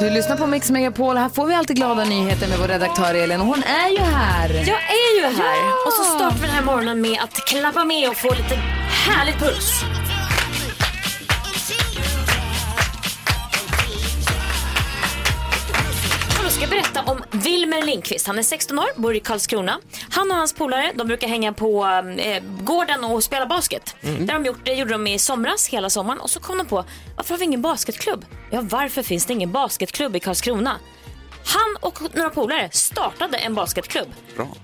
Du lyssnar på Mix Megapol. Här får vi alltid glada nyheter med vår redaktör Elin. Och hon är ju här. Jag är ju här. Och så startar vi den här morgonen med att klappa med och få lite härlig puls. Jag ska berätta om Wilmer Lindqvist. Han är 16 år, bor i Karlskrona. Han och hans polare de brukar hänga på eh, gården och spela basket. Där de gjort, det gjorde de i somras, hela sommaren. Och så kom de på, varför har vi ingen basketklubb? Ja, varför finns det ingen basketklubb i Karlskrona? Han och några polare startade en basketklubb.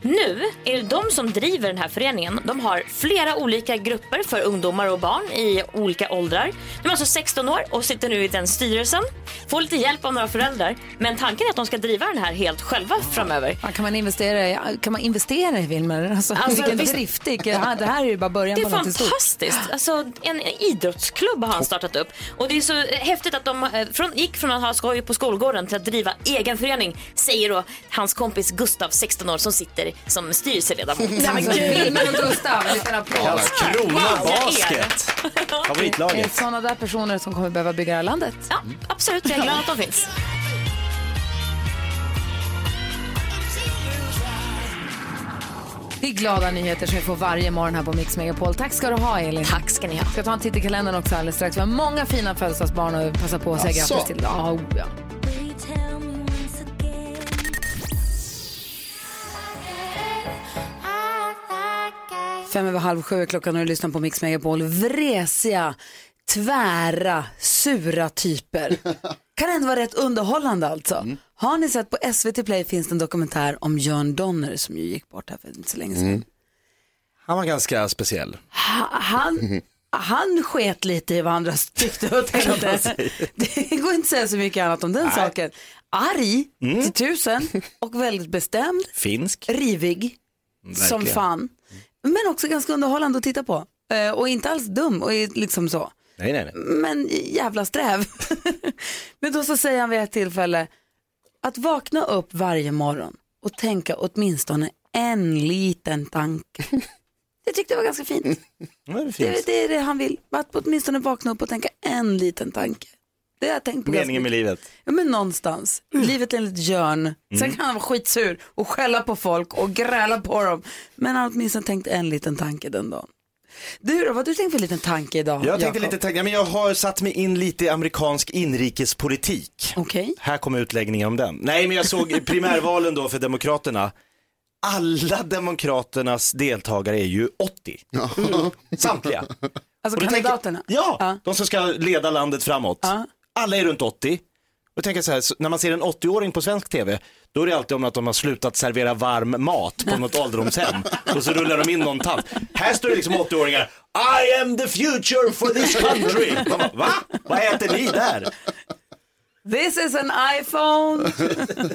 Nu är det de som driver den här föreningen. De har flera olika grupper för ungdomar och barn i olika åldrar. De är alltså 16 år och sitter nu i den styrelsen. Får lite hjälp av några föräldrar. Men tanken är att de ska driva den här helt själva framöver. Ja, Kan man investera i, kan man investera i Wilmer? Alltså, Alltså, vilken visst- drift, vilken, ja, det här är ju bara början Det på är något stort. fantastiskt. Alltså, en idrottsklubb har han startat upp. Och det är så eh, häftigt att de eh, från, gick från att ha skoj på skolgården till att driva egen förening, säger då hans kompis Gustav, 16 år, som sitter som styrelseledamot. Alltså, Wilmer och Gustav, en liten applåd. Krona Wow, jag är. Basket. Det är Favoritlaget. sådana där personer som kommer behöva bygga det här landet. Ja, absolut. Jag är glad att de finns. Det är glada nyheter som vi får varje morgon här på Mix Megapol. Tack ska du ha, Elin. Tack ska ni ha. Ska ta en titt i kalendern också alldeles strax. Vi har många fina födelsedagsbarn och passa på att säga Asså? grattis till. Ja, oh, ja. Fem över halv sju är klockan och du lyssnar på Mix Megapol. Vresiga, tvära, sura typer. kan ändå vara rätt underhållande alltså. Har ni sett på SVT Play finns det en dokumentär om Jörn Donner som ju gick bort här för inte så länge sedan. Han var ganska speciell. Ha- han, han sket lite i vad andra tyckte och tänkte. Det går inte att säga så mycket annat om den saken. Arg till tusen och väldigt bestämd, Finsk. rivig som verkligen. fan. Men också ganska underhållande att titta på. Eh, Och inte alls dum och är liksom så. Nej, nej, nej. Men jävla sträv. Men då så säger han vid ett tillfälle att vakna upp varje morgon och tänka åtminstone en liten tanke. Det tyckte jag var ganska fint. Nu är det Det, finsk. det är det han vill. Att åtminstone vakna upp och tänka en liten tanke. Det har jag tänkt på ganska Meningen med Mm. mycket. livet. Ja, men någonstans. Livet är ett Jörn. Sen Mm. kan han vara skitsur och skälla på folk och gräla på dem. Men han har åtminstone tänkt en liten tanke den dagen. Du då, vad har du tänkt för liten tanke idag? Jag tänkte Jakob? lite tänka, men jag har satt mig in lite i amerikansk inrikespolitik. Okej. Här kommer utläggningen om den. Nej, men jag såg i primärvalen då för Demokraterna. Alla Demokraternas deltagare är ju 80. Samtliga. Alltså Och då tänker- kandidaterna. ja, Ja. de som ska leda landet framåt. Alla är runt 80. Och tänker jag så här, så när man ser en 80-åring på svensk tv, då är det alltid om att de har slutat servera varm mat på något ålderdomshem. Och så rullar de in någon tant. Här står det liksom 80-åringar, I am the future for this country. Man bara, Va? Vad äter ni där? This is an iPhone.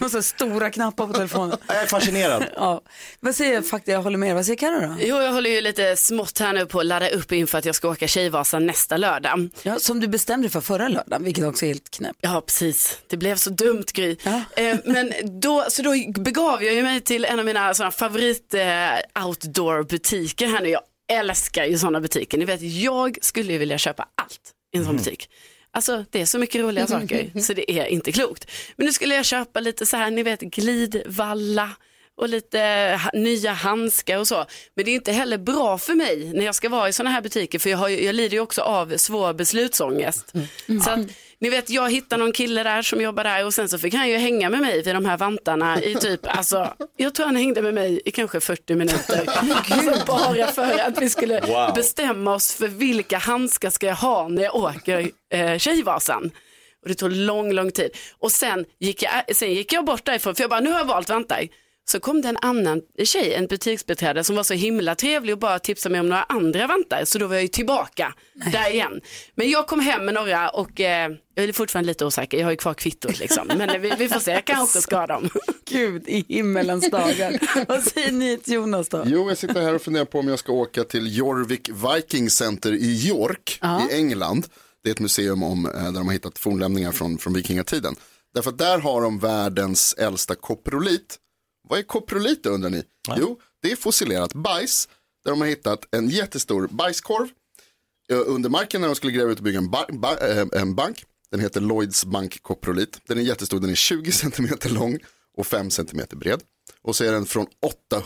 och så stora knappar på telefonen. Jag är fascinerad. Ja. Vad säger faktiskt, jag håller med er. Vad säger Carro då? Eh. Jo, jag håller ju lite smått här nu på att ladda upp inför att jag ska åka Tjejvasan nästa lördag. Ja, som du bestämde dig för förra lördagen, vilket också är helt knäppt. Ja, precis. Det blev så dumt Gry. Ja. Eh, men då, så då begav jag ju mig till en av mina såna favorit eh, outdoor-butiker här nu. Jag älskar ju sådana butiker. Ni vet, jag skulle ju vilja köpa allt i en sån butik. Alltså det är så mycket roliga saker så det är inte klokt. Men nu skulle jag köpa lite så här, ni vet glidvalla och lite ha- nya handskar och så. Men det är inte heller bra för mig när jag ska vara i sådana här butiker för jag, har ju, jag lider ju också av svår beslutsångest. Så att, ni vet, jag hittade någon kille där som jobbar där och sen så fick han ju hänga med mig vid de här vantarna i typ, alltså, jag tror han hängde med mig i kanske 40 minuter. Alltså, bara för att vi skulle Wow. bestämma oss för vilka handskar ska jag ha när jag åker eh, Tjejvasan. eh, Och det tog lång, lång tid. Och sen gick jag, sen gick jag bort därifrån, för jag bara, nu har jag valt vantar. Så kom det en annan tjej, en butiksbiträde som var så himla trevlig och bara tipsade mig om några andra vantar. Så då var jag ju tillbaka där igen. Men jag kom hem med några och eh, jag är fortfarande lite osäker, jag har ju kvar kvittot liksom. Men vi, vi får se, jag kanske ska ha dem. Gud i himmelens dagar. Vad säger ni till Jonas då? Jo, jag sitter här och funderar på om jag ska åka till Jorvik Viking Center i York i England. Det är ett museum om, eh, där de har hittat fornlämningar från, från vikingatiden. Därför att där har de världens äldsta koprolit. Vad är koprolit undrar ni? Jo, det är fossilerat bajs där de har hittat en jättestor bajskorv eh, under marken när de skulle gräva ut och bygga en, ba- ba- eh, en bank. Den heter Lloyds Bank Coprolit. Den är jättestor, den är 20 cm lång och 5 cm bred. Och så är den från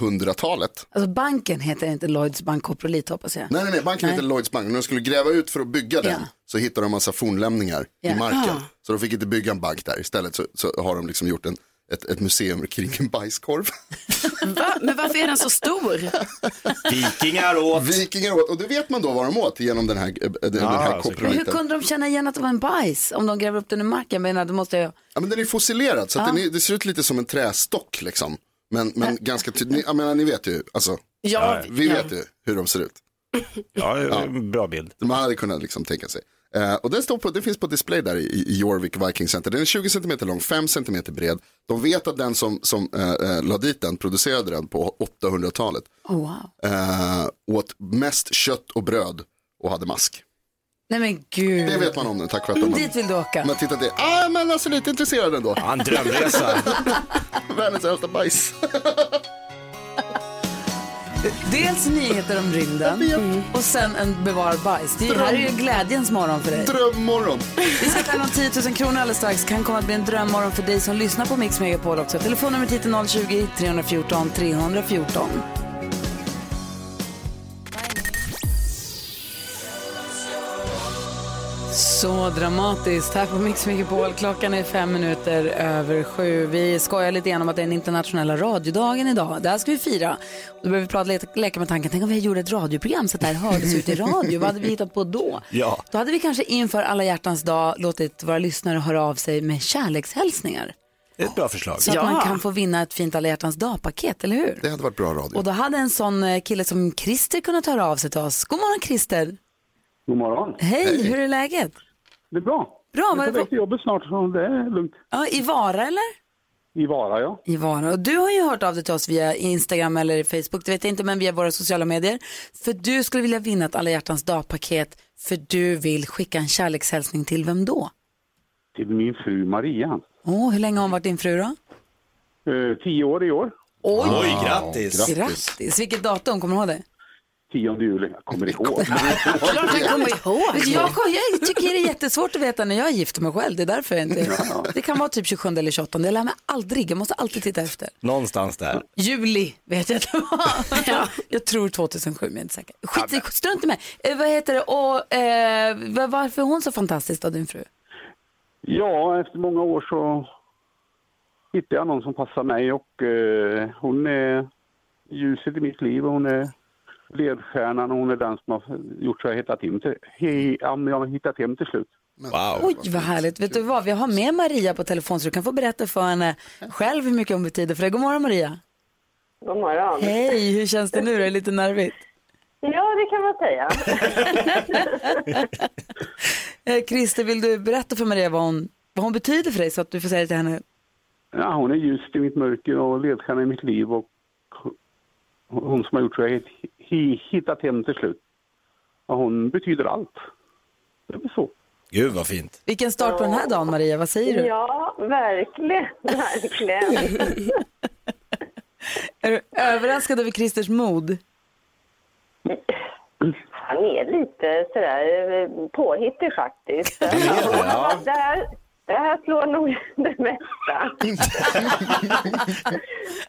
800-talet. Alltså banken heter inte Lloyds Bank Coprolit hoppas jag. Nej, nej, nej, banken heter Lloyds Bank. När de skulle gräva ut för att bygga den Ja. så hittade de en massa fornlämningar Ja. i marken. Så de fick inte bygga en bank där. Istället så, så har de liksom gjort en, ett, ett museum kring en bajskorv. Va? Men varför är den så stor? Vikingar åt. Vikingar åt, och det vet man då vad de åt genom den här, eh, den här Ah, såklart. Men hur koproliten. kunde de känna igen att det var en bajs om de gräver upp den i marken? Jag menar, då måste jag... Ja, men den är fossilerad så att den är, det ser ut lite som en trästock liksom. Men, men ganska tydligt, jag menar ni vet ju, alltså, Ja, vi vet ju hur de ser ut. Ja, en bra bild. Man hade kunnat liksom tänka sig. Eh, och den, står på, den finns på display där i, i Jorvik Viking Center. Den är 20 cm lång, 5 cm bred. De vet att den som, som eh, eh, la dit den producerade den på 800-talet. Oh, wow. Eh, åt mest kött och bröd och hade mask. Nej men gud. Det vet man om den tack vare att de har- Dit vill du åka. Men titta det, ah, men alltså lite intresserad ändå. Ja, en drömresa. Världens äldsta bajs. Dels nyheter om rymden och sen en bevarad bajs. Det är ju- här är ju glädjens morgon för dig. Drömmorgon. Vi ska tävla om 10 000 kronor alldeles strax. Kan komma att bli en drömmorgon för dig som lyssnar på Mix Megapol också. Telefonnumret hit är 020-314 314. 314. Så dramatiskt här på Mix Megapol. Klockan är fem minuter över sju. Vi skojar lite grann om att det är den internationella radiodagen idag. Det här ska vi fira. Då behöver vi prata lite, leka med tanken. Tänk om vi gjorde ett radioprogram så att det här hördes ut i radio. Vad hade vi hittat på då? Ja. Då hade vi kanske inför alla hjärtans dag låtit våra lyssnare höra av sig med kärlekshälsningar. Det är ett bra förslag. Så att man kan få vinna ett fint alla hjärtans dag-paket, eller hur? Det hade varit bra radio. Och då hade en sån eh, kille som Christer kunnat höra av sig till oss. God morgon Christer! God morgon. Hej, hur är läget? Det är bra. Bra, Jag vad är är på det väg på? till jobbet snart, så det är lugnt. Ja, I Vara eller? I Vara, ja. I Vara. Och du har ju hört av dig till oss via Instagram eller Facebook, det vet jag inte, men via våra sociala medier. För du skulle vilja vinna ett alla hjärtans dag-paket, för du vill skicka en kärlekshälsning till vem då? Till min fru Maria. Åh, hur länge har hon varit din fru då? Eh, tio år i år. Oj, grattis. Grattis! Vilket datum, kommer du ihåg det? 10 juli. Jag kommer ihåg. klart jag kommer ihåg. Vet du, Jag, kom- jag tycker det är jättesvårt att veta när jag gifter mig själv. Det är därför jag inte... Det kan vara typ 27 eller 28. Jag lär mig aldrig. Jag måste alltid titta efter. Någonstans där. Juli vet jag att det var. Jag tror 2007, men jag är inte säker. Skit, i- strunt i mig. Eh, vad heter det? Och, eh, va- varför är hon så fantastisk då, din fru? ja, efter många år så hittade jag någon som passar mig och eh, hon är ljuset i mitt liv. och Hon är ledstjärnan och hon är den som har gjort så jag har hittat hem till, he, ja, men jag har hittat hem till slut. Wow. Oj, vad härligt. Vet du vad? Vi har med Maria på telefon så du kan få berätta för henne själv hur mycket hon betyder för dig. God morgon, Maria. God morgon. Hej, hur känns det nu? då? Är det lite nervigt? Ja, det kan man säga. Eh, Christer, vill du berätta för Maria vad hon, vad hon betyder för dig så att du får säga det till henne? Ja, hon är ljuset i mitt mörker och ledstjärna i mitt liv och hon som har gjort så jag hitt- hi- hittat hem till slut. Och hon betyder allt. Det är väl så. Gud vad fint. Vilken start på den här dagen, Maria. Vad säger du? Ja, verkligen. Verkligen. Är du överraskad över Christers mod? Han är lite sådär eh, påhittig faktiskt. Ja. Det här, det här slår nog det mesta.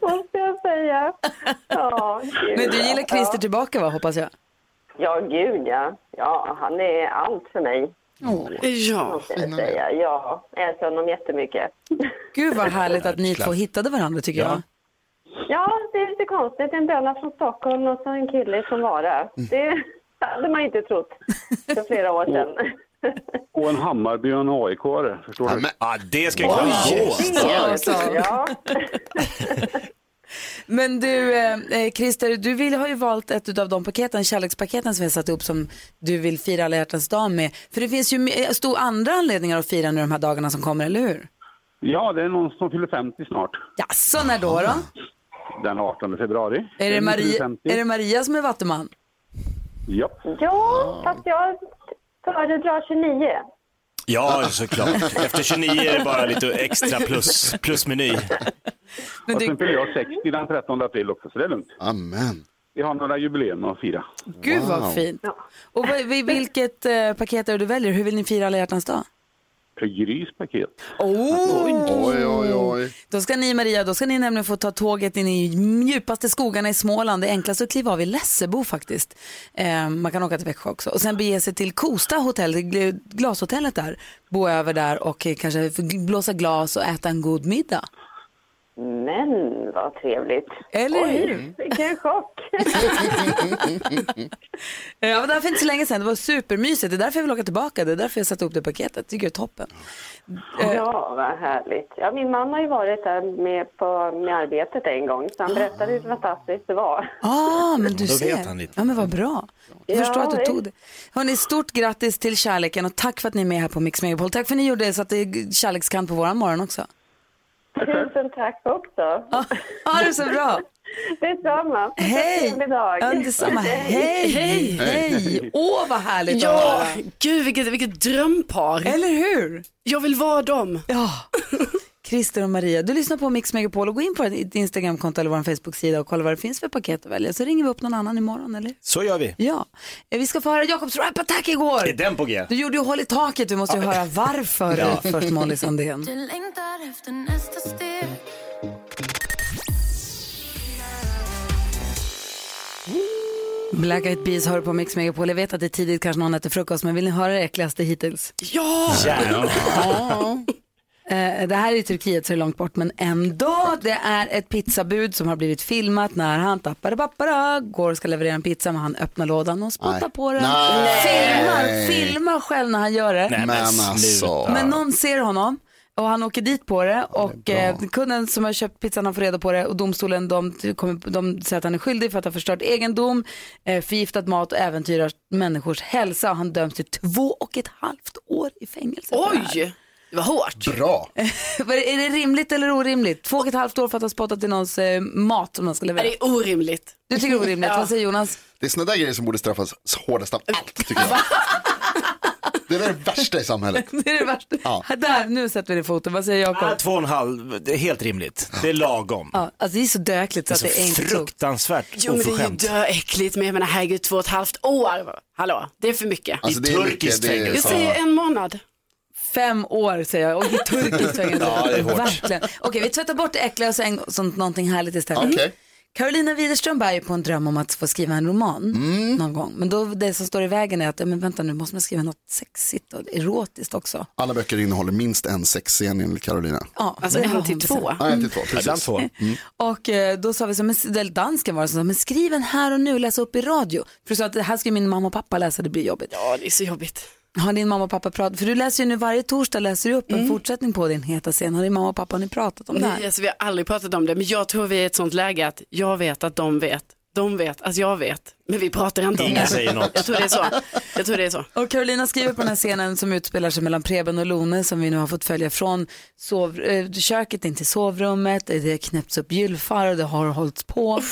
Måste jag säga. Ja, gud, Men du gillar ja. Christer tillbaka, va, hoppas jag? Ja, gud ja. Ja, han är allt för mig. Ja, måste jag säga. Ja, jag älskar honom jättemycket. Gud vad härligt att ni två hittade varandra tycker jag. Ja, det är lite konstigt. En böna från Stockholm och så en kille från Vara. Det hade man inte trott för flera år sedan. Och en Hammarby och en aik förstår du? Ja, det ska ju kunna gå. Ja, ja. Men du, eh, eh, Christer, du vill, har ju valt ett av de paketen, kärlekspaketen som vi har satt ihop som du vill fira alla hjärtans dag med. För det finns ju me- eh, stor andra anledningar att fira nu de här dagarna som kommer, eller hur? Ja, det är någon som fyller 50 snart. Jaså, när då? då? Den 18 februari. Är, det Den fyller Maria, 50. är det Maria som är vattuman? Ja. Ja, fast jag föredrar 29. Ja, såklart. Efter 29 är det bara lite extra plus, plusmeny. Och sen fyller jag 60 den 13 april också, så det är lugnt. Amen. Vi har några jubileum att fira. Gud vad fint. Och vad- vi- vilket eh, paket är det du väljer? Hur vill ni fira alla hjärtans dag? Grys paket. Oj, oj, oj. Då ska ni Maria, då ska ni nämligen få ta tåget in i djupaste skogarna i Småland. Det är enklast att kliva av i Lessebo faktiskt. Eh, man kan åka till Växjö också. Och sen bege sig till Kosta hotell, det gl- glashotellet där. Bo över där och eh, kanske få gl- blåsa glas och äta en god middag. Men vad trevligt. Eller hur? Oj, vilken chock. Eh, Jag var där för inte så länge sedan, det var supermysigt. Det är därför jag vill åka tillbaka, det är därför jag satte upp det paketet. Tycker det är toppen. Ja, vad härligt. Ja, min man har ju varit där med, på, med arbetet en gång, så han berättade hur fantastiskt det var. Ja, ah, men du Då ser. vet han lite. Ja, men vad bra. Jag Ja, förstår att du det- tog det. Hörrni, stort grattis till kärleken och tack för att ni är med här på Mix Megapol. Tack för att ni gjorde så att det är kärlekskant på våran morgon också. Tusen tack också. Ja, ah, det är så bra. Detsamma. Hej! Trevlig dag. Ja, detsamma. Hej! Hej! Hej! Åh, vad härligt att Ja, höra. gud vilket, vilket drömpar. Eller hur? Jag vill vara dem. Ja. Christer och Maria, du lyssnar på Mix Megapol och gå in på ditt Instagramkonto eller vår Facebook-sida och kolla vad det finns för paket att välja. Så ringer vi upp någon annan imorgon, eller? Så gör vi. Ja. Eh, Vi ska få höra Jakobs rap-attack igår. Är den på G? Du gjorde ju hål i taket, vi måste ju höra varför Ja. först Molly Sandén. Black Eyed Peas hör på Mix Megapol. Jag vet att det är tidigt, kanske någon äter frukost, men vill ni höra det äckligaste hittills? Ja, Järn. Eh, Det här är i Turkiet så det är långt bort men ändå. Det är ett pizzabud som har blivit filmat när han tappade pappara, går och ska leverera en pizza men han öppnar lådan och spottar Nej. på den. Nej. Filmar, Nej. filmar själv när han gör det. Nej, Men sluta. alltså. Men någon ser honom och han åker dit på det och eh, kunden som har köpt pizzan har fått reda på det och domstolen de, kommer, de säger att han är skyldig för att ha förstört egendom, eh, förgiftat mat och äventyrar människors hälsa och han döms till två och ett halvt år i fängelse. för det här. oj. Det var hårt. Bra. Vad är- Är det rimligt eller orimligt? Två och ett halvt år för att ha spottat i någons eh, mat som de ska Nej, leverera. Det är orimligt. Du tycker det är orimligt, vad säger Jonas? Det är sådana där grejer som borde straffas hårdast av allt, tycker jag. Det är det värsta i samhället. Det är det värsta. Ja. Där, nu sätter vi ner foten. Vad säger Jakob? Ah, Två och en halv, det är helt rimligt. Det är lagom. Ja, alltså det är så dökligt så att Alltså, det är inte klokt. fruktansvärt Jo men det är ju oförskämt. döäckligt men jag menar herregud två och ett halvt år. Hallå, det är för mycket. Alltså, I det är mycket- turkiskt det är- Jag fängelse. säger en månad. Fem år säger jag och i turkiskt fängelse. Ja, det är hårt. Verkligen. Okej, vi tvättar bort det äckliga och så ägnar oss åt någonting härligt istället. Mm. Okej. Carolina Widerström bär ju på en dröm om att få skriva en roman Mm. någon gång. Men då, det som står i vägen är att, ja, men vänta nu måste man skriva något sexigt och erotiskt också. Alla böcker innehåller minst en sexscen enligt Carolina. Ja, Alltså det har en hon till bestämt. två. Nej, inte två. Ja, Ibland Precis. två. Och eh, då sa vi så, men, eller dansken var det som sa, men skriv en här och nu, läs upp i radio. För du sa att det här ska ju min mamma och pappa läsa, det blir jobbigt. Ja det är så jobbigt. Har din mamma och pappa pratat, för du läser ju nu varje torsdag läser du upp en fortsättning på din heta scen. Har din mamma och pappa har ni pratat om det Mm. Nej, här? alltså, vi har aldrig pratat om det men jag tror vi är i ett sånt läge att jag vet att de vet. De vet att jag vet. Men vi pratar inte om Ingen det. säger något. Jag tror det är så. Jag tror det är så. Och Carolina skriver på den här scenen som utspelar sig mellan Preben och Lone som vi nu har fått följa från sov, eh, köket in till sovrummet. Det har knäppts upp gylfar och det har hållits på.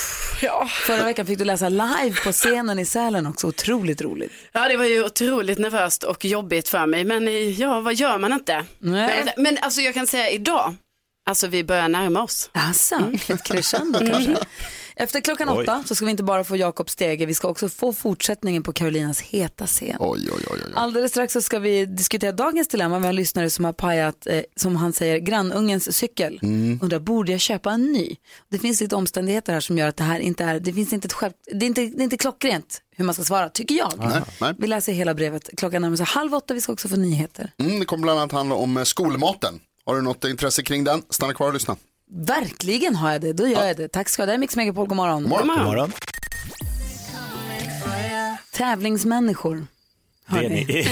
Ja. Förra veckan fick du läsa live på scenen i Sälen också, otroligt roligt. Ja, det var ju otroligt nervöst och jobbigt för mig, men eh, ja, vad gör man inte? Nej. Men, men alltså jag kan säga idag, alltså vi börjar närma oss. Jaså, ett crescendo kanske. Efter klockan Oj. åtta så ska vi inte bara få Jakob Stege, vi ska också få fortsättningen på Carolinas heta scen. Oj, oj, oj. oj. Alldeles strax så ska vi diskutera dagens dilemma. Vi har en lyssnare som har pajat, eh, som han säger, grannungens cykel. Undrar, borde jag köpa en ny? Det finns lite omständigheter här som gör att det här inte är, det finns inte ett själv, det är inte, det är inte klockrent hur man ska svara, tycker jag. Nej, nej. Vi läser hela brevet. Klockan närmar sig halv åtta, vi ska också få nyheter. Mm, det kommer bland annat handla om eh, skolmaten. Har du något intresse kring den? Stanna kvar och lyssna. Verkligen har jag det, då gör jag det. Tack ska du ha, det är Mix Megapol, god morgon. morgon. God morgon. Tävlingsmänniskor. Det är ni. Kan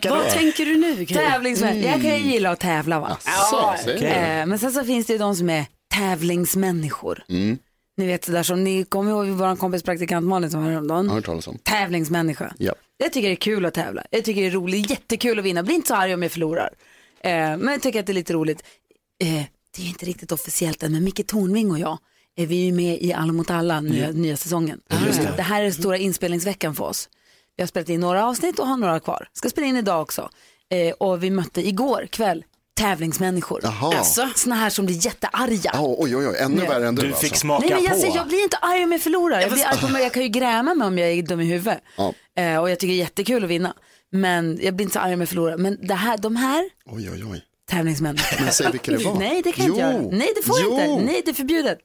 det Vad vara? tänker du nu? Gry? Mm. Tävlingsmän. Jag kan ju gilla att tävla va. Så, säger du. Eh, men sen så finns det ju de som är tävlingsmänniskor. Mm, Ni vet sådär som, ni kommer ihåg vår kompis praktikant Malin som var här häromdagen. jag har hört talas om. tävlingsmänniska. Ja. Jag tycker det är kul att tävla. Jag tycker det är roligt, jättekul att vinna. Bli inte så arg om jag förlorar. Eh, men jag tycker att det är lite roligt. Eh, det är ju inte riktigt officiellt än, men Micke Tornving och jag är vi är ju med i Alla mot alla, nya, nya säsongen. det. här är den stora inspelningsveckan för oss. Vi har spelat in några avsnitt och har några kvar. Ska spela in idag också. Eh, och vi mötte igår kväll tävlingsmänniskor. Jaha. Alltså. Såna här som blir jättearga. Ja, oj, oj, oj, ännu värre än du, Du fick alltså. smaka Nej, men jag, på. säger, jag blir inte arg om jag förlorar. Jag, blir arg på mig, jag kan ju gräma mig om jag är dum i huvudet. Ja. Eh, och jag tycker det är jättekul att vinna. Men jag blir inte så arg om jag förlorar. Men det här, de här Oj, oj, oj. tävlingsmännen. Men säg vilka det var. Nej, det kan jag inte Jo. göra. Nej, det får jag jo. inte. Nej, det är förbjudet.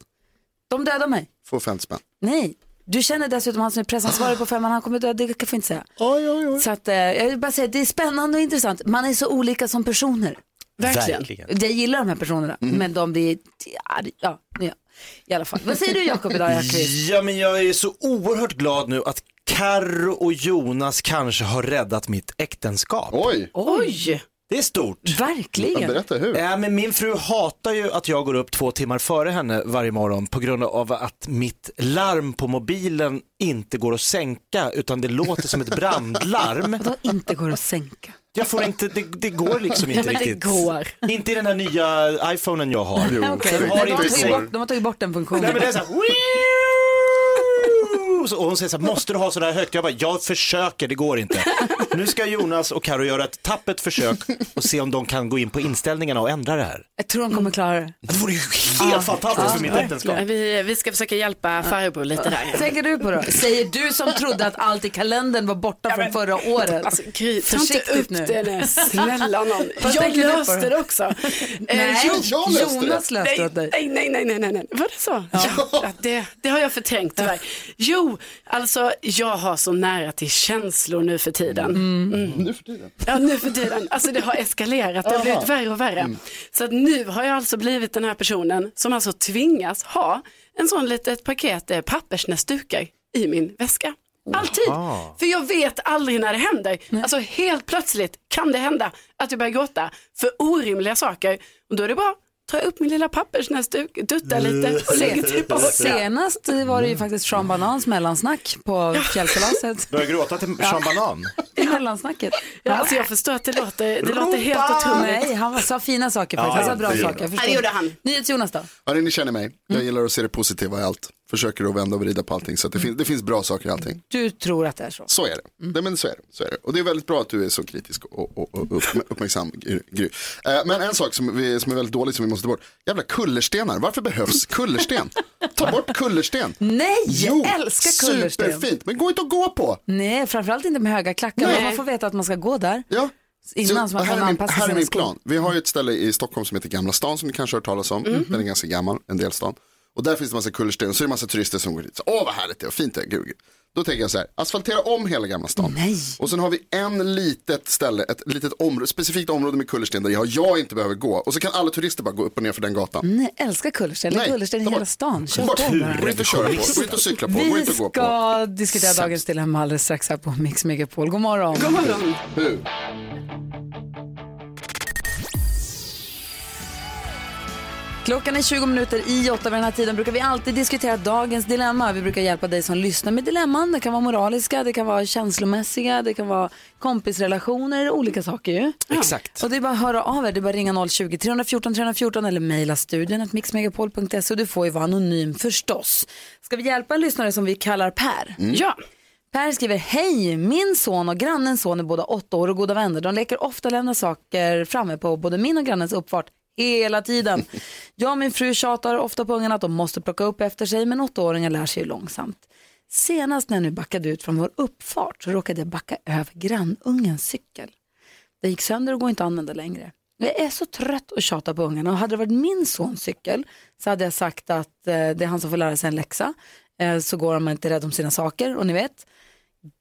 De dödar mig. Får 50 spänn. Nej. Du känner dessutom han som är pressansvarig på femman, han kommer dö, det kan jag inte säga. Oj, Ah. oj, oj. Så att, eh, jag vill bara säga, det är spännande och intressant. Man är så olika som personer. Verkligen. Jag gillar de här personerna, Mm. men de blir arg- ja, ja, i alla fall. Vad säger du Jakob idag, Jakob? Ja, men jag är så oerhört glad nu att Karro och Jonas kanske har räddat mitt äktenskap. Oj, Oj, Det är stort. men Verkligen. berätta hur. Äh, men min fru hatar ju att jag går upp två timmar före henne varje morgon på grund av att mitt larm på mobilen inte går att sänka utan det låter som ett brandlarm. Vadå inte går att sänka? Jag får inte, det, det går liksom inte men det riktigt. går. Inte i den här nya iPhonen jag har. Jo, Okej, det men har de, inte har tagit sänkt. bort, de har tagit bort den Nej, funktionen. men det är så här, så, och hon säger så här, måste du ha så där högt? Jag bara, jag försöker, det går inte. Nu ska Jonas och Karo göra ett tappert försök och se om de kan gå in på inställningarna och ändra det här. Jag tror de kommer klara det. Det vore ju helt fantastiskt för mitt äktenskap. vi, vi ska försöka hjälpa farbror lite där. Tänker du på då? Säger du som trodde att allt i kalendern var borta från förra året. Alltså, Gry, ta inte Försiktigt upp nu. det nu. Snälla någon. Jag tänker du på löste då? det också. Eh, Nej, jo, jag löste det. Jonas löste det åt dig. Nej, nej, nej, nej, nej, nej. Var det så? Ja. Ja, det, det har jag förträngt tyvärr. Jo, alltså jag har så nära till känslor nu för tiden. Mm. Mm. Nu för tiden. Ja, nu för tiden. Alltså det har eskalerat, det har blivit värre och värre. Så att nu har jag alltså blivit den här personen som alltså tvingas ha en sån litet paket eh, pappersnäsdukar i min väska. Alltid. För jag vet aldrig när det händer. Alltså helt plötsligt kan det hända att jag börjar gråta för orimliga saker. Och då är det bara att ta upp min lilla pappersnäsduk, dutta lite och lägga tillbaka. Senast var det ju faktiskt Sean Banans mellansnack på fjällkalaset. Börjar gråta till Sean Banan. I mellansnacket. Ja, alltså jag förstår att det låter, det låter helt otroligt. Nej, han sa fina saker faktiskt. Han sa bra det gjorde saker. jag Ja, det förstår. gjorde han. NyhetsJonas då? Hörni, ni känner mig. Jag Mm. gillar att se det positiva i allt. Försöker att vända och vrida på allting. Så att det, Mm. fin- det finns bra saker i allting. Du tror att det är så. Så är Mm. det. Nej, men så är det. Så är det. Och det är väldigt bra att du är så kritisk och, och, och upp, uppmärksam, Gry. Gry. Eh, men en sak som, vi, som är väldigt dålig som vi måste bort. Jävla kullerstenar. Varför behövs kullersten? Ta bort kullersten. Nej, jag älskar kullersten. superfint. Men gå inte att gå på. Nej, framförallt inte med höga klackar. Nej. Men man får veta att man ska gå där. Ja. Innan så man här kan är min, anpassa här är sina min skor. plan. Vi har ju ett ställe i Stockholm som heter Gamla stan som ni kanske har hört talas om. Mhm. Den är ganska gammal, en del stan. Och där finns det massa kullersten och så är det massa turister som går dit. Så, Åh vad härligt det är och fint det är. Gud, gud. Då tänker jag så här, asfaltera om hela Gamla stan. Nej. Och sen har vi en litet ställe, ett litet område, specifikt område med kullersten där jag, jag inte behöver gå. Och så kan alla turister bara gå upp och ner för den gatan. Nej, älskar kullersten. Det är kullersten i ta hela bort. stan. Kör Bort. på bara. Gå inte och köra på, gå inte och cykla på, gå Vi inte och gå på. ska diskutera dagens dilemma alldeles strax här på Mix Megapol. God morgon. God morgon. Hur? Klockan är 20 minuter i åtta. Vid den här tiden brukar vi alltid diskutera dagens dilemma. Vi brukar hjälpa dig som lyssnar med dilemman. Det kan vara moraliska, det kan vara känslomässiga, det kan vara kompisrelationer, olika saker ju. Exakt. Och det är bara att höra av er. Det är bara att ringa 020-314 314 eller mejla studion att mixmegapol.se och du får ju vara anonym förstås. Ska vi hjälpa en lyssnare som vi kallar Per? Ja. Per skriver, hej, min son och grannens son är båda åtta år och goda vänner. De leker ofta och lämnar saker framme på både min och grannens uppfart hela tiden. Jag och min fru tjatar ofta på ungarna att de måste plocka upp efter sig, men åttaåringar lär sig ju långsamt. Senast när jag nu backade ut från vår uppfart så råkade jag backa över grannungens cykel. Den gick sönder och går inte att använda längre. Jag är så trött och tjatar på ungarna och hade det varit min sons cykel så hade jag sagt att eh, det är han som får lära sig en läxa. Eh, så går man inte rädd om sina saker och ni vet.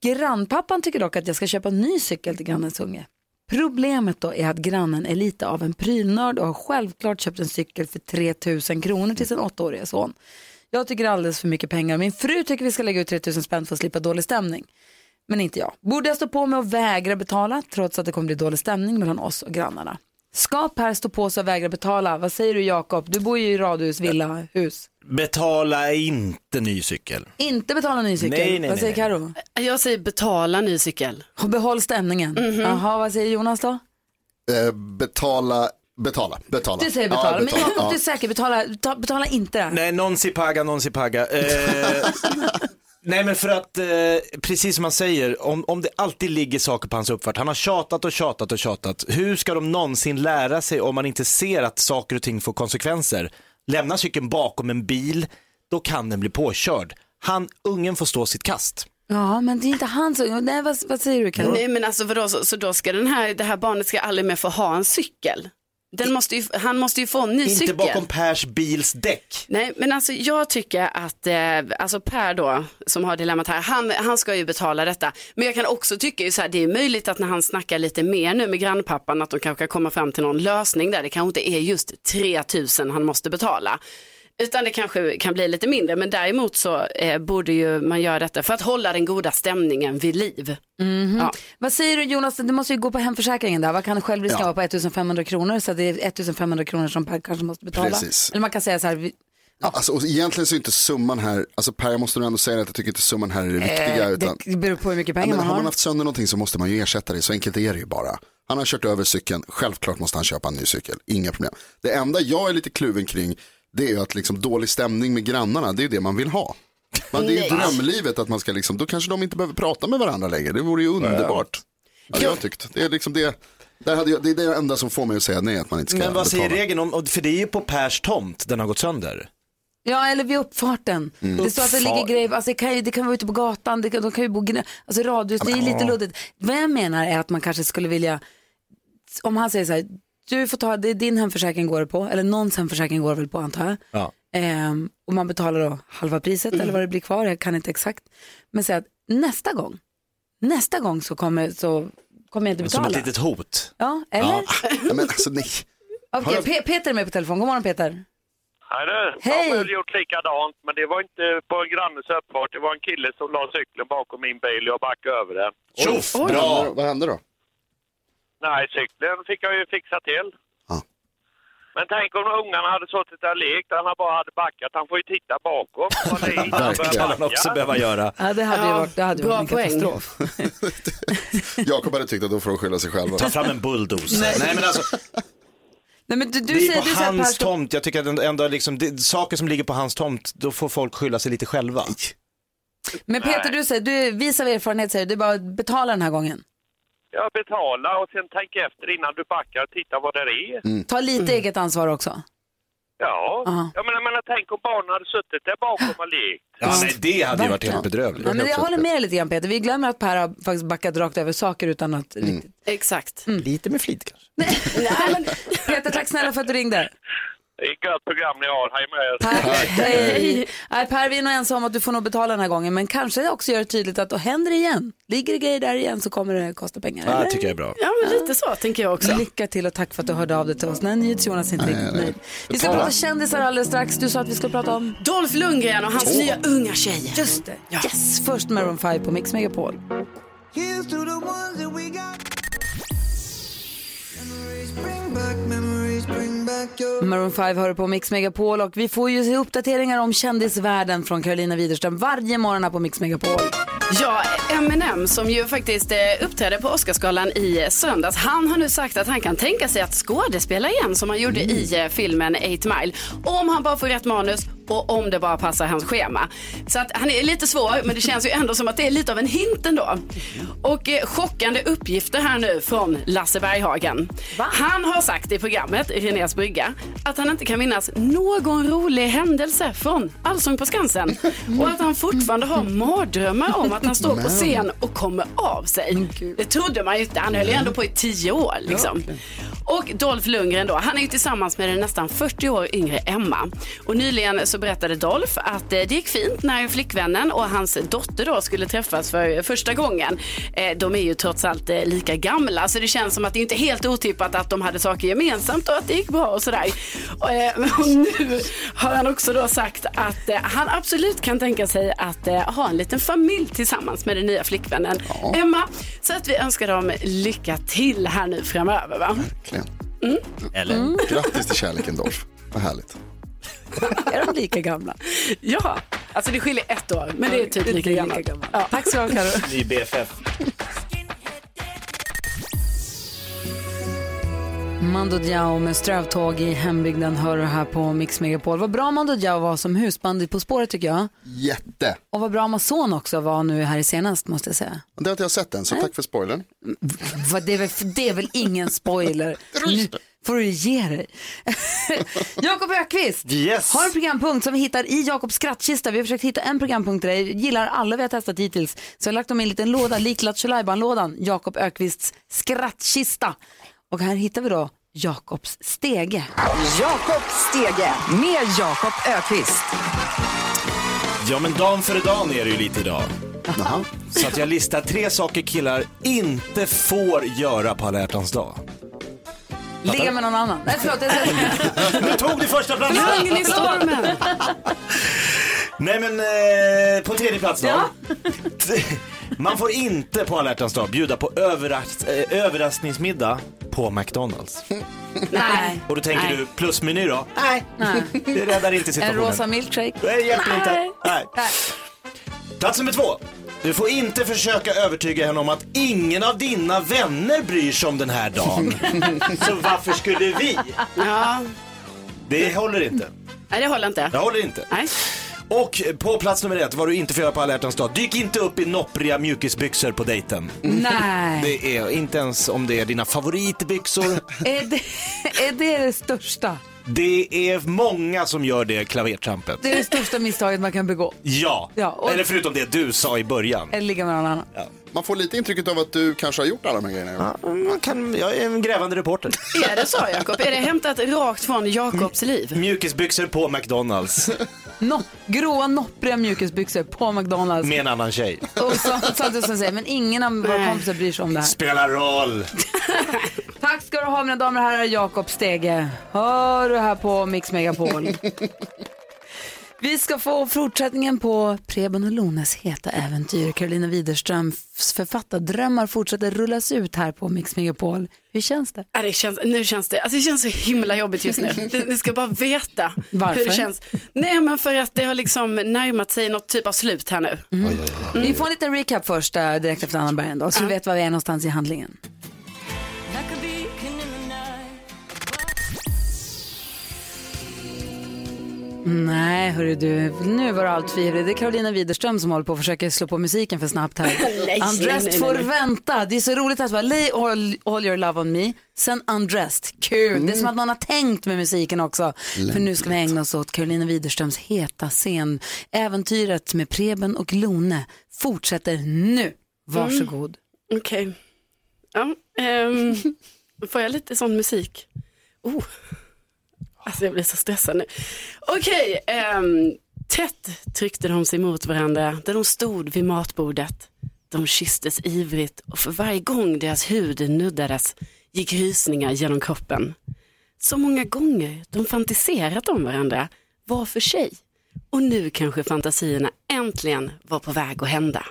Grannpappan tycker dock att jag ska köpa en ny cykel till grannens unge. Problemet då är att grannen är lite av en prylnörd och har självklart köpt en cykel för 3000 kronor till sin åttaåriga son. Jag tycker det är alldeles för mycket pengar. Min fru tycker vi ska lägga ut 3000 spänn för att slippa dålig stämning. Men inte jag. Borde jag stå på mig och vägra betala trots att det kommer bli dålig stämning mellan oss och grannarna? Ska Per stå på sig och vägra betala? Vad säger du Jakob? Du bor ju i radhus, villa, hus. Betala inte ny cykel. Inte betala ny cykel. Nej, nej, vad säger nej, nej. Karo? Jag säger betala ny cykel. Och Behåll stämningen. Jaha, vad säger Jonas då? Eh, betala, betala, betala. Du säger betala. Ja, betala. Men Jakob, Ja. du är säker. Betala, ta, betala inte det här. Nej, non si paga, non si paga. Eh, nej, men för att, eh, precis som man säger, om, om det alltid ligger saker på hans uppfart, han har tjatat och tjatat och tjatat. Hur ska de någonsin lära sig om man inte ser att saker och ting får konsekvenser? Lämna cykeln bakom en bil, då kan den bli påkörd. Han, ungen får stå sitt kast. Ja, men det är inte hans unge. Nej, vad, vad säger du Karo? Nej men alltså vadå, så, så då ska den här, det här barnet ska aldrig mer få ha en cykel. Den måste ju, han måste ju få en ny cykel. Inte bakom Pers bils däck. Nej, men alltså jag tycker att eh, alltså Per då, som har dilemmat här, han, han ska ju betala detta. Men jag kan också tycka ju så här, det är möjligt att när han snackar lite mer nu med grannpappan att de kanske kan komma fram till någon lösning där. Det kanske inte är just 3000 han måste betala. Utan det kanske kan bli lite mindre, men däremot så eh, borde ju man göra detta för att hålla den goda stämningen vid liv. Ja. Vad säger du Jonas, du måste ju gå på hemförsäkringen där. Vad kan självrisken vara på 1500 kronor? Så att det är 1500 kronor som Per kanske måste betala. Precis. Eller man kan säga så här, vi- Alltså, och egentligen så är inte summan här, alltså Per jag måste nog ändå säga att jag tycker inte summan här är Eh, det viktiga. utan, Eh, det beror på hur mycket ja, pengar men man har har. man haft sönder någonting så måste man ju ersätta det, så enkelt är det ju bara. Han har kört över cykeln, självklart måste han köpa en ny cykel, inga problem. Det enda jag är lite kluven kring, det är ju att liksom dålig stämning med grannarna, det är ju det man vill ha. Men det är ju drömlivet att man ska liksom, då kanske de inte behöver prata med varandra längre, det vore ju underbart. Ja, jag har tyckt, det är liksom det, där hade jag, det är det enda som får mig att säga nej, att man inte ska Men vad säger betala. regeln om, och- för det är ju på Pers tomt den har gått sönder. Ja, eller vid uppfarten. Det står att det ligger Uppfart. grejer, alltså det kan ju, det kan vara ute på gatan, det kan, de kan ju bo gnö, alltså radhus, det är ju lite luddigt. Vad jag menar är att man kanske skulle vilja, om han säger så här, du får ta, det är din hemförsäkring går det på, eller någons hemförsäkring går det väl på antar jag. Ja. Ehm, och man betalar då halva priset eller vad det blir kvar, jag kan inte exakt. Men säg att nästa gång, nästa gång så kommer, så kommer jag inte Som betala. ett litet hot. Ja, eller? Ja, men alltså nej. Okej, Pe- Peter är med på telefon, god morgon Peter. Nej du, Hej. jag har väl gjort likadant, men det var inte på en grannes uppfart. Det var en kille som la cykeln bakom min bil och jag backade över den. Tjoff, Vad hände bra. då? Vad hände då? Nej, cykeln fick jag ju fixa till. Ja. Men tänk om ungarna hade suttit där och lekt, han hade bara hade backat. Han får ju titta bakom. Vad det är innan han börjar Verkligen. Kan han också backa. behöva göra. Ja, det hade ju Ja, varit, det hade ju bra varit en poäng. katastrof. Jakob hade tyckt att då får de skylla sig själva. Ta fram en bulldozer. Nej. men alltså, Nej, men du, du det är säger, på du säger att Per hans ska tomt. Jag tycker att ändå liksom, det, saker som ligger på hans tomt, då får folk skylla sig lite själva. Men Peter, du säger, du visar av erfarenhet säger du, det är bara att betala den här gången. Jag betalar och sen tänk efter innan du backar och titta vad det är. Ta lite eget ansvar också. Ja, Ja. jag menar, men tänk om barnen hade suttit där bakom och lekt. Ja, nej, det hade ju varit Verkligen. helt bedrövligt. Ja, men jag också håller ett- med dig lite grann Peter, vi glömmer att Per har faktiskt backat rakt över saker utan att Mm. riktigt... Exakt. Lite med flit kanske. Nej, men Peter, tack snälla för att du ringde. Det är ett gött program ni har. Hej med er. Per, hej. Nej, per, vi är nog ensamma om att du får nog betala den här gången, men kanske också gör det tydligt att då händer det igen. Ligger det grejer där igen så kommer det kosta pengar. Ja, eller? det tycker jag är bra. Ja, men lite så tänker jag också. Lycka till och tack för att du hörde av dig till oss. Nej, NyhetsJonas är inte riktigt nöjd. Vi ska Betala. prata kändisar alldeles strax. Du sa att vi skulle prata om... Dolph Lundgren och hans nya unga tjejer. Just det. Yes! Först Maroon 5 på Mix Megapol. Maroon 5 hör på Mix Megapol och vi får ju se uppdateringar om kändisvärlden från Carolina Widerström varje morgon här på Mix Megapol. Ja, Eminem som ju faktiskt eh, uppträdde på Oscarsgalan i eh, söndags. Han har nu sagt att han kan tänka sig att skådespela igen som han gjorde i eh, filmen 8 Mile. Om han bara får rätt manus och om det bara passar hans schema. Så att han är lite svår men det känns ju ändå som att det är lite av en hint ändå. Och eh, chockande uppgifter här nu från Lasse Berghagen. Han har sagt i programmet Renés brygga att han inte kan minnas någon rolig händelse från Allsång på Skansen. Och att han fortfarande har mardrömmar om att han står på scen och kommer av sig. Det trodde man ju inte. Han höll ju ändå på i tio år. Liksom. Och Dolph Lundgren då, han är ju tillsammans med den nästan 40 år yngre Emma. Och nyligen så berättade Dolph att eh, det gick fint när flickvännen och hans dotter då skulle träffas för första gången. Eh, De är ju trots allt eh, lika gamla så det känns som att det inte är helt otippat att de hade saker gemensamt och att det gick bra och sådär. Och, eh, och nu har han också då sagt att eh, han absolut kan tänka sig att eh, ha en liten familj tillsammans med den nya flickvännen Emma. Så att vi önskar dem lycka till här nu framöver. Va? Verkligen. Mm. Eller? Grattis till kärleken Dorf. Vad härligt. Är de lika gamla? Ja, alltså det skiljer ett år, men det är typ lika gammalt. Ja. Tack så mycket, Karo. Ny BFF. Mando Diao med Strövtåg i hembygden hör du här på Mix Megapol. Vad bra Mando Diao var som husband i På spåret tycker jag. Jätte. Och vad bra Amazon också var nu här i senast måste jag säga. Det har inte jag sett än, så tack för spoilern. Vad, det, är väl, det är väl ingen spoiler? Nu får du ge dig. Jakob Ökvist Yes. har en programpunkt som vi hittar i Jakobs skrattkista. Vi har försökt hitta en programpunkt till dig. Gillar alla vi har testat hittills. Så jag har lagt dem i en liten låda, lik Lattjo lådan Jakob Ökvists skrattkista. Och här hittar vi då Jakobs stege. Jakob Stege med Jakob Ökvist. Ja, men dan före dan är det ju lite idag. Så att jag listar tre saker killar inte får göra på alla hjärtans dag. Ligga med någon annan. Nej förlåt, jag säger Jag tog du första platsen! i stormen. Nej men eh, på tredje plats då. Man får inte på alla hjärtans dag bjuda på överras- eh, överraskningsmiddag på McDonalds. nej. Och då tänker du plusmeny då? Nej. Det räddar inte En situationen. rosa milkshake. Nej, det hjälper inte. Nej. Plats nummer två. Du får inte försöka övertyga henne om att ingen av dina vänner bryr sig om den här dagen. Så varför skulle vi? Ja, Det håller inte. nej det håller inte. Det håller inte. Nej. Och på plats nummer ett, vad du inte får göra på alla hjärtans dag. Dyk inte upp i noppriga mjukisbyxor på dejten. Nej. Det är inte ens om det är dina favoritbyxor. Är det, är det det största? Det är många som gör det klavertrampet. Det är det största misstaget man kan begå. Ja, Ja, och- eller förutom det du sa i början. Eller ligga med någon annan. Man får lite intrycket av att du kanske har gjort alla de här grejerna. Man kan, jag är en grävande reporter. Är det så Jakob? Är det hämtat rakt från Jakobs liv? Mm. Mjukisbyxor på McDonalds No, gråa noppriga mjukisbyxor på McDonalds. med en annan tjej. Och så, samtidigt som säger, men ingen av våra Nej. kompisar bryr sig om det här. Spelar roll. Tack ska du ha mina damer och herrar, Jakob Stege. Hör du här på Mix Megapol. Vi ska få fortsättningen på Preben och Lones heta äventyr. Karolina Widerströms författardrömmar fortsätter rullas ut här på Mix Megapol. Hur känns det? Ja, det känns, nu känns det, alltså det känns så himla jobbigt just nu. Ni, ni ska bara veta Varför? hur det känns. Nej men för att det har liksom närmat sig något typ av slut här nu. Vi får en liten recap först eh, direkt efter Anna Bergendahl så vi vet var vi är någonstans i handlingen. Nej, hörru du, nu var det allt tvivel. Det är Karolina Widerström som håller på och försöker slå på musiken för snabbt här. nej, Undressed nej, får nej. vänta. Det är så roligt att vara lay all, all your love on me, sen undressed. Kul. Det Mm. är som att någon har tänkt med musiken också. För nu ska vi ägna oss åt Karolina Widerströms heta scen. Äventyret med Preben och Lone fortsätter nu. Varsågod. Mm. Okej. Ja, ehm, får jag lite sån musik? Oh. Alltså jag blir så stressad nu. Okej, ehm, tätt tryckte de sig mot varandra där de stod vid matbordet. De kysstes ivrigt och för varje gång deras hud nuddades gick rysningar genom kroppen. Så många gånger de fantiserat om varandra, var för sig. Och nu kanske fantasierna äntligen var på väg att hända.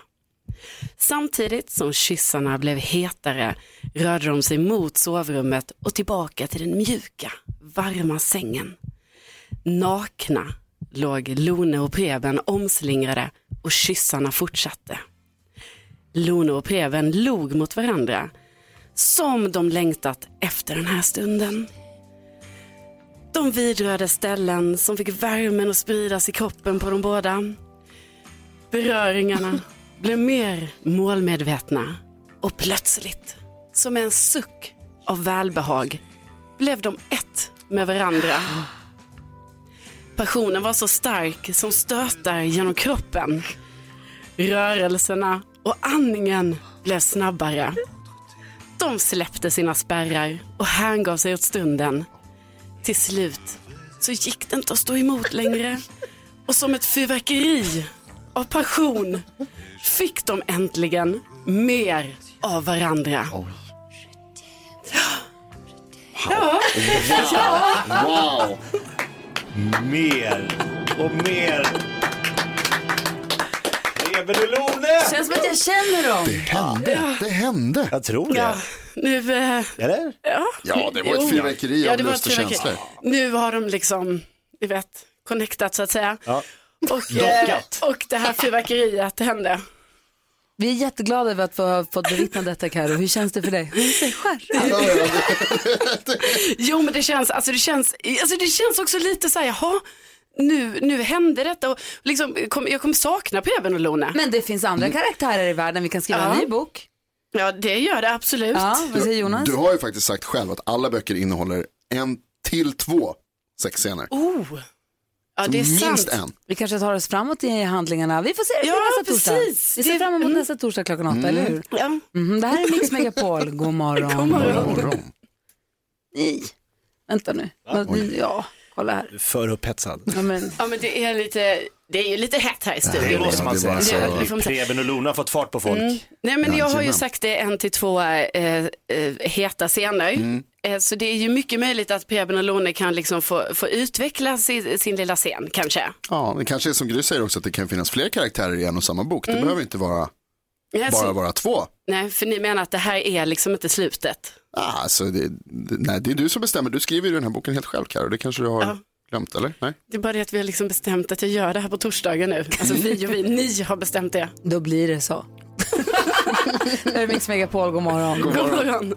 Samtidigt som kyssarna blev hetare rörde de sig mot sovrummet och tillbaka till den mjuka, varma sängen. Nakna låg Lone och Preben omslingrade och kyssarna fortsatte. Lone och Preben log mot varandra som de längtat efter den här stunden. De vidrörde ställen som fick värmen att spridas i kroppen på dem båda. Beröringarna blev mer målmedvetna och plötsligt, som en suck av välbehag, blev de ett med varandra. Passionen var så stark som stötar genom kroppen. Rörelserna och andningen blev snabbare. De släppte sina spärrar och hängav sig åt stunden. Till slut så gick det inte att stå emot längre och som ett fyrverkeri av passion fick de äntligen mer av varandra. Wow! Mer och mer. Lever du Lone? Känns som att jag känner dem. Det hände! Det hände! Jag tror det. Nu, eh, Eller? ja. Ja, det var ett Jo. fyrverkeri av det var lust och ett fyrverkeri. känslor. Nu har de liksom, ni vet, connectat så att säga. Ja. Och, Dockat. eh, och det här fyrverkeriet hände. Vi är jätteglada över att få ha fått bevittna detta Karo. Hur känns det för dig? Hon säger skärra. Jo, men det känns, alltså det känns, alltså det känns också lite så här, jaha, nu, nu hände detta och liksom, kom, jag kommer sakna Preben och Lone. Men det finns andra karaktärer i världen. Vi kan skriva en Mm. Ja. ny bok. Ja, det gör det absolut. Ja, vad säger Jonas? Du har ju faktiskt sagt själv att alla böcker innehåller en till två sexscener. Oh. Ja, det är Minst sant. en. Vi kanske tar oss framåt i handlingarna. Vi får se det Ja, nästa torsdag. precis. Vi ser Det- mm. fram emot nästa torsdag klockan åtta, eller hur? Ja. Mhm, det här är Mix Megapol. God morgon. God morgon. Morgon. Nej. Vänta nu. Men, ja, kolla här. För upphetsad. Ja, men, ja, men det är lite, det är ju lite hett här i studion. Det alltså måste man det säga. var så- Det får man säga. Preben och Lona har fått fart på folk. Nej men jag har ju Jajamän. sagt det en till två eh, eh, heta scener. Eh, så det är ju mycket möjligt att Preben och Lone kan liksom få, få utveckla sin, sin lilla scen kanske. Ja, det kanske är som Gry säger också att det kan finnas fler karaktärer i en och samma bok. Det Mm. behöver inte vara, Nej, bara så, vara två. nej, för ni menar att det här är liksom inte slutet. Ah, Alltså, det, det, nej, det är du som bestämmer. Du skriver ju den här boken helt själv, Karo. Det kanske du har Ja. glömt, eller? Nej? Det är bara det att vi har liksom bestämt att jag gör det här på torsdagen nu. Alltså vi och vi, ni har bestämt det. då blir det så. det här är Mix Megapol. God morgon. God morgon.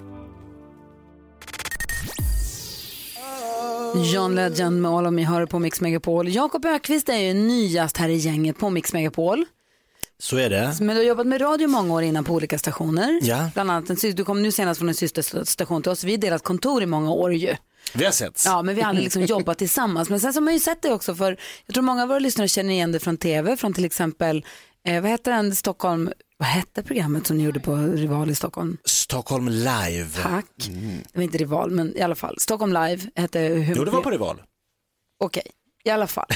John Legend med All of Me hör på Mix Megapol. Jakob Ökvist är ju nyast här i gänget på Mix Megapol. Så är det. Men du har jobbat med radio många år innan på olika stationer. Ja. Bland annat, en sy- du kom nu senast från en systerstation till oss. Vi har delat kontor i många år ju. Vi har setts. Ja, men vi har aldrig liksom jobbat tillsammans. Men sen så har man ju sett det också för jag tror många av våra lyssnare känner igen det från tv, från till exempel, eh, vad hette den, Stockholm, vad hette programmet som ni gjorde på Rival i Stockholm? Stockholm live. Tack. Det var inte Rival, men i alla fall. Stockholm Live hette Mm. Jo, det var på Rival. Okej, i alla fall.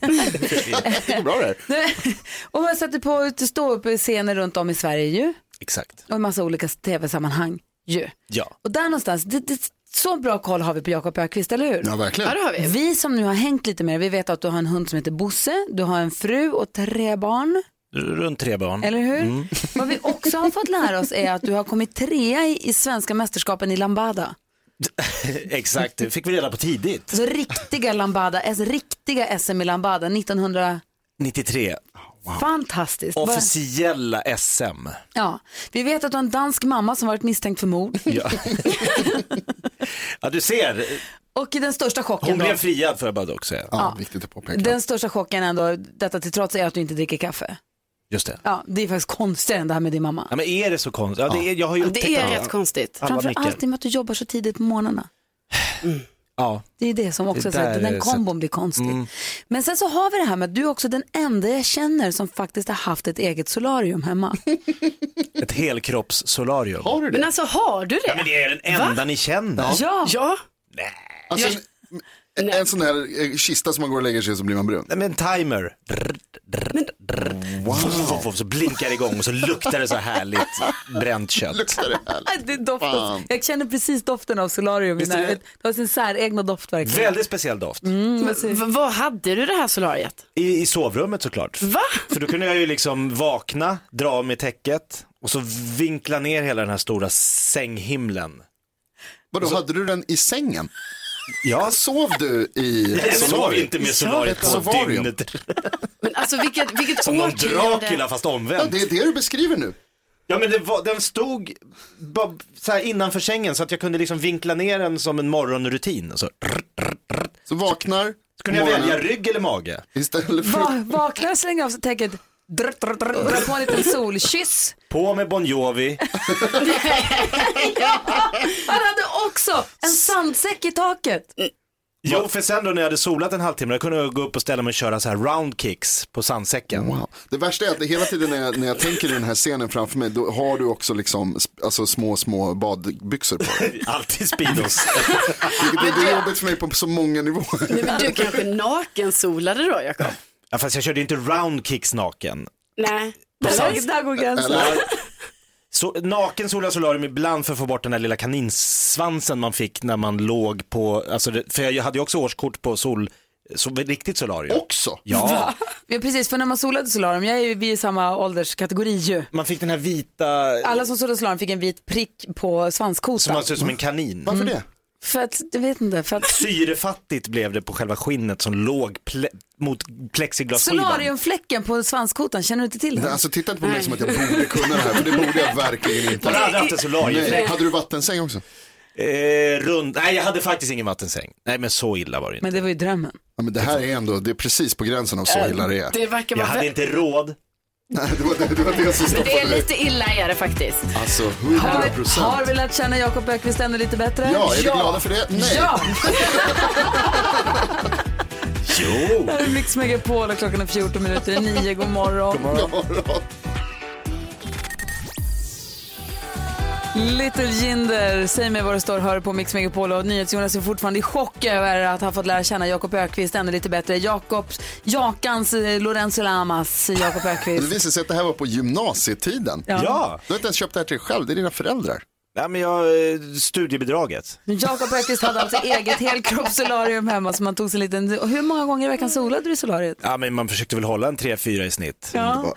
Det går bra det här. och man sätter på stå upp scener runt om i Sverige ju. Exakt. och en massa olika tv-sammanhang ju. Ja. Och där någonstans, det, det, så bra koll har vi på Jakob Ökvist, eller hur? Ja, verkligen. Ja, det har vi. Vi som nu har hängt lite med dig, vi vet att du har en hund som heter Bosse, du har en fru och tre barn, Runt tre barn. eller hur? Mm. Vad vi också har fått lära oss är att du har kommit trea i, i svenska mästerskapen i lambada. Exakt, det fick vi reda på tidigt. Alltså riktiga lambada, alltså riktiga SM i lambada 1900, 93. fantastiskt. Vad- Officiella SM. Ja. Vi vet att du har en dansk mamma som varit misstänkt för mord. Ja. ja, du ser. Och i den största chocken Hon då. blev friad får jag bara dock säga. Ja, viktigt att påpeka. Den största chocken ändå, detta till trots, är att du inte dricker kaffe. Just det. Ja, det är faktiskt konstigare än det här med din mamma. Ja, men är det så konstigt? Ja, det är, jag har ju upptäckt Det är alla- rätt konstigt. alla Framför allt i mickar. och med att du jobbar så tidigt på morgnarna. Ja. Det är det som också, Det det så att där den är kombon blir konstig. Men sen så har vi det här med att du är också den enda jag känner som faktiskt har haft ett eget solarium hemma. Ett helkroppssolarium. Har du det? Men alltså har du Men det? det är den enda ni känner. ja, Ja, Alltså, en, en sån här eh, kista som man går och lägger sig i så blir man brun. Nej, men timer. Drr, drr, drr. Voff, voff, voff, Så blinkar det igång och så luktar det så härligt bränt kött. Luktar det härligt? det är doften. Fan. Jag känner precis doften av solarium. i Visst är det- närheten. Det har sin säregna doft verkligen. Väldigt speciell doft. Mm. v- vad hade du det här solariet? I, I sovrummet såklart. Va? För då kunde jag ju liksom vakna, dra av mig täcket och så vinkla ner hela den här stora sänghimlen. Vadå, hade du den i sängen? Ja, Sov du i jag sov solarium? inte med solariet Ett på solarium. dygnet. Men alltså vilket, vilket Som någon årtionde- Dracula fast Ja, omvänd. det är det du beskriver nu. Ja men det var, den stod bara så här innanför sängen så att jag kunde liksom vinkla ner den som en morgonrutin. Så, Så vaknar så kunde jag morgonen välja rygg eller mage. istället för Va, vaknar, slänger av sig täcket, drr, drr, drr, drar på en liten solkyss. På med Bon Jovi. Han hade också en sandsäck i taket. Jo för sen då när jag hade solat en halvtimme då kunde jag gå upp och ställa mig och köra så här roundkicks på sandsäcken. Wow. Det värsta är att det hela tiden när jag, när jag tänker i den här scenen framför mig, då har du också liksom, sp- alltså, små, små badbyxor på dig. Alltid Speedos. Vilket är, det är jobbigt för mig på så många nivåer. Nej, men du kanske nakensolade då Jakob? ja, fast jag körde inte roundkicks naken. Nej. Där, där går gränsen. Eller, Så, naken solar solarium ibland för att få bort den där lilla kaninsvansen man fick när man låg på, alltså det, för jag hade ju också årskort på sol Så, riktigt solarium. Också? Ja. Ja, precis, för när man solade solarium, jag är ju, vi är i samma ålderskategori ju. Man fick den här vita Alla som solade solarium fick en vit prick på svanskotan. som man ser ut som en kanin. Varför det? För att, jag vet inte, för att Syrefattigt blev det på själva skinnet som låg ple- mot plexiglasskivan. solariumfläcken på svanskotan, känner du inte till den? Alltså titta inte på mig som att jag borde kunna det här, för det borde jag verkligen Har du inte. aldrig haft en solarium? Nej. Hade du vattensäng också? Eh, rund... Nej, jag hade faktiskt ingen vattensäng. Nej, men så illa var det inte. Men det var ju drömmen. Ja, men det här är ändå, det är precis på gränsen av så Äh, illa det är. Det verkar Jag vara hade väldigt... inte råd. Det var det, det, var det som Det är stoppade mig. lite illa är det faktiskt. Alltså, Har, 100 har procent. vi lärt känna Jakob Ökvist ännu lite bättre? Ja, är vi glada för det? Nej. Ja! Jo. Det här är Mix Megapol och klockan är 14 minuter i 9. God morgon. Ja, ja. Little Jinder, säg mig var du står och hör på Mix Megapol och NyhetsJonas är fortfarande i chock över att ha fått lära känna Jakob Ökvist ännu lite bättre. Jakobs, Jakans, eh, Lorenzo Lamas, Jakob Det Ökvist. visade sig att det här var på gymnasietiden. Ja. Du har inte ens köpt det här till dig själv, det är dina föräldrar. Nej, men jag... eh, Studiebidraget. Men Jakob Ökvist hade alltså eget helkroppssolarium hemma så man tog sig en liten... och Hur många gånger i veckan solade du i solariet? Ja, men man försökte väl hålla en 3-4 i snitt. Ja.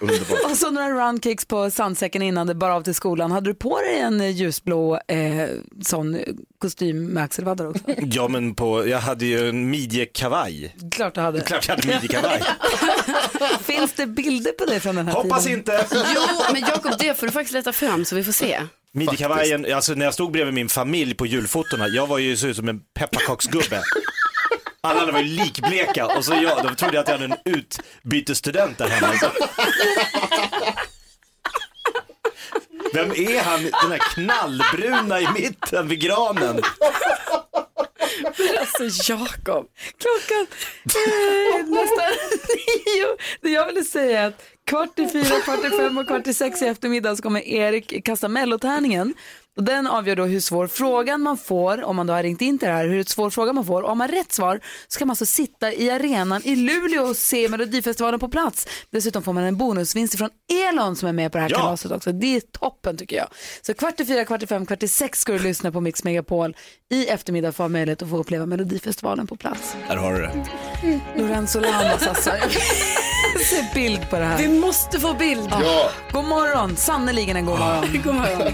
Och så några roundkicks på sandsäcken innan det bara av till skolan. Hade du på dig en eh, ljusblå eh, sån kostym med axelvaddar också? Ja, men på... jag hade ju en midjekavaj. Klart du hade. Klart jag hade midjekavaj. Finns det bilder på dig från den här Hoppas tiden? inte. Jo, men Jakob, det får du faktiskt leta fram så vi får se. Midjekavajen, alltså när jag stod bredvid min familj på julfotona, jag var ju så ut som en pepparkaksgubbe. Alla andra var ju likbleka och så jag, de trodde att jag hade en utbytesstudent där hemma. Så- Vem är han, den här knallbruna i mitten vid granen? Alltså Jakob. Klockan eh, nästan nio. Det jag ville säga är att kvart i fyra, kvart i fem och kvart i sex i eftermiddag så kommer Erik kasta mellotärningen. Och den avgör då hur svår frågan man får, om man då har ringt in till det här, hur svår fråga man får. Om man har rätt svar så kan man alltså sitta i arenan i Luleå och se Melodifestivalen på plats. Dessutom får man en bonusvinst från Elon som är med på det här Ja. kalaset också. Det är toppen tycker jag. Så kvart i fyra, kvart i fem, kvart i sex ska du lyssna på Mix Megapol i eftermiddag för att ha möjlighet att få uppleva Melodifestivalen på plats. Där har du det. Lorenzo Lamas alltså. Jag ser bild på det här. Vi måste få bild. Ja, God morgon, sannerligen en god morgon. God morgon.